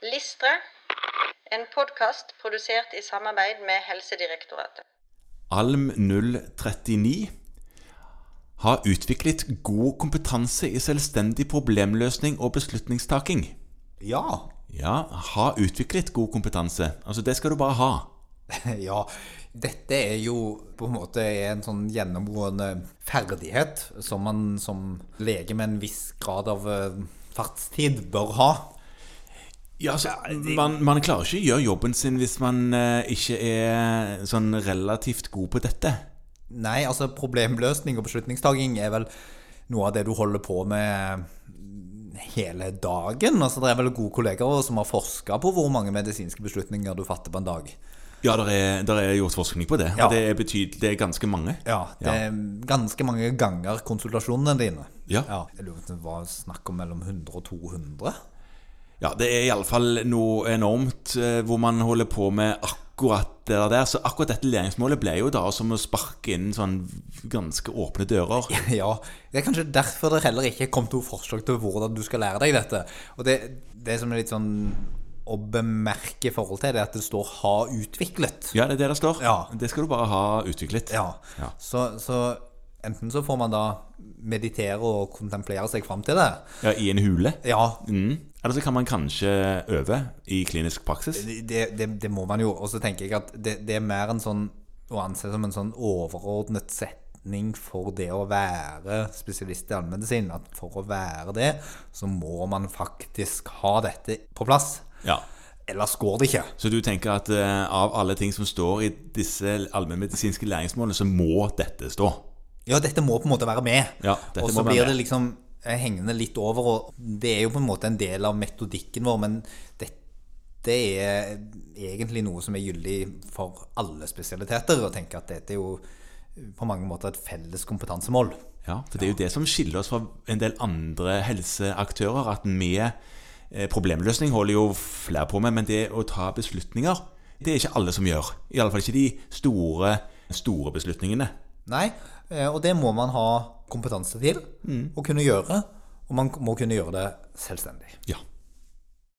Listre, en podkast produsert i samarbeid med Helsedirektoratet. Alm 039 har utviklet god kompetanse i selvstendig problemløsning og beslutningstaking. Ja. Ja, har utviklet god kompetanse. Altså, det skal du bare ha. ja. Dette er jo på en måte en sånn gjennomgående ferdighet som man som lege med en viss grad av eh, fartstid bør ha. Ja, altså, man, man klarer ikke å gjøre jobben sin hvis man eh, ikke er sånn relativt god på dette. Nei, altså problemløsning og beslutningstaking er vel noe av det du holder på med hele dagen. Altså Det er vel gode kolleger som har forska på hvor mange medisinske beslutninger du fatter på en dag. Ja, der er, der er gjort forskning på det, Ja. og det er, betydelig, det er ganske mange. Ja, det er ganske mange ganger konsultasjonene dine. Ja. Jeg lurer på om det var snakk om mellom 100 og 200. Ja, det er iallfall noe enormt eh, hvor man holder på med akkurat det der. Så akkurat dette læringsmålet ble jo da som å sparke inn sånn ganske åpne dører. Ja, det er kanskje derfor det heller ikke kom to forslag til hvordan du skal lære deg dette. Og det, det som er litt sånn å bemerke i forhold til, det er at det står 'ha utviklet'. Ja, det er det det står. Ja. Det skal du bare ha utviklet. Ja. Ja. Så, så enten så får man da meditere og kontemplere seg fram til det. Ja, I en hule. Ja, Mm. Eller så kan man kanskje øve i klinisk praksis. det, det, det må man jo. Og så tenker jeg at det, det er mer en sånn å anse som en sånn overordnet setning for det å være spesialist i allmedisin. At for å være det, så må man faktisk ha dette på plass. Ja. Ellers går det ikke. Så du tenker at eh, av alle ting som står i disse allmennmedisinske læringsmålene, så må dette stå? Ja, dette må på en måte være med. Ja, dette og må så være blir med. det liksom eh, hengende litt over, og det er jo på en måte en del av metodikken vår, men dette er egentlig noe som er gyldig for alle spesialiteter, og tenker at dette er jo på mange måter et felles kompetansemål. Ja, for det er jo det som skiller oss fra en del andre helseaktører, at vi eh, problemløsning holder jo flere på med, men det å ta beslutninger, det er ikke alle som gjør. Iallfall ikke de store, store beslutningene. Nei, eh, og det må man ha Mm. kompetanse til, og kunne gjøre, og man må kunne gjøre det selvstendig. Ja.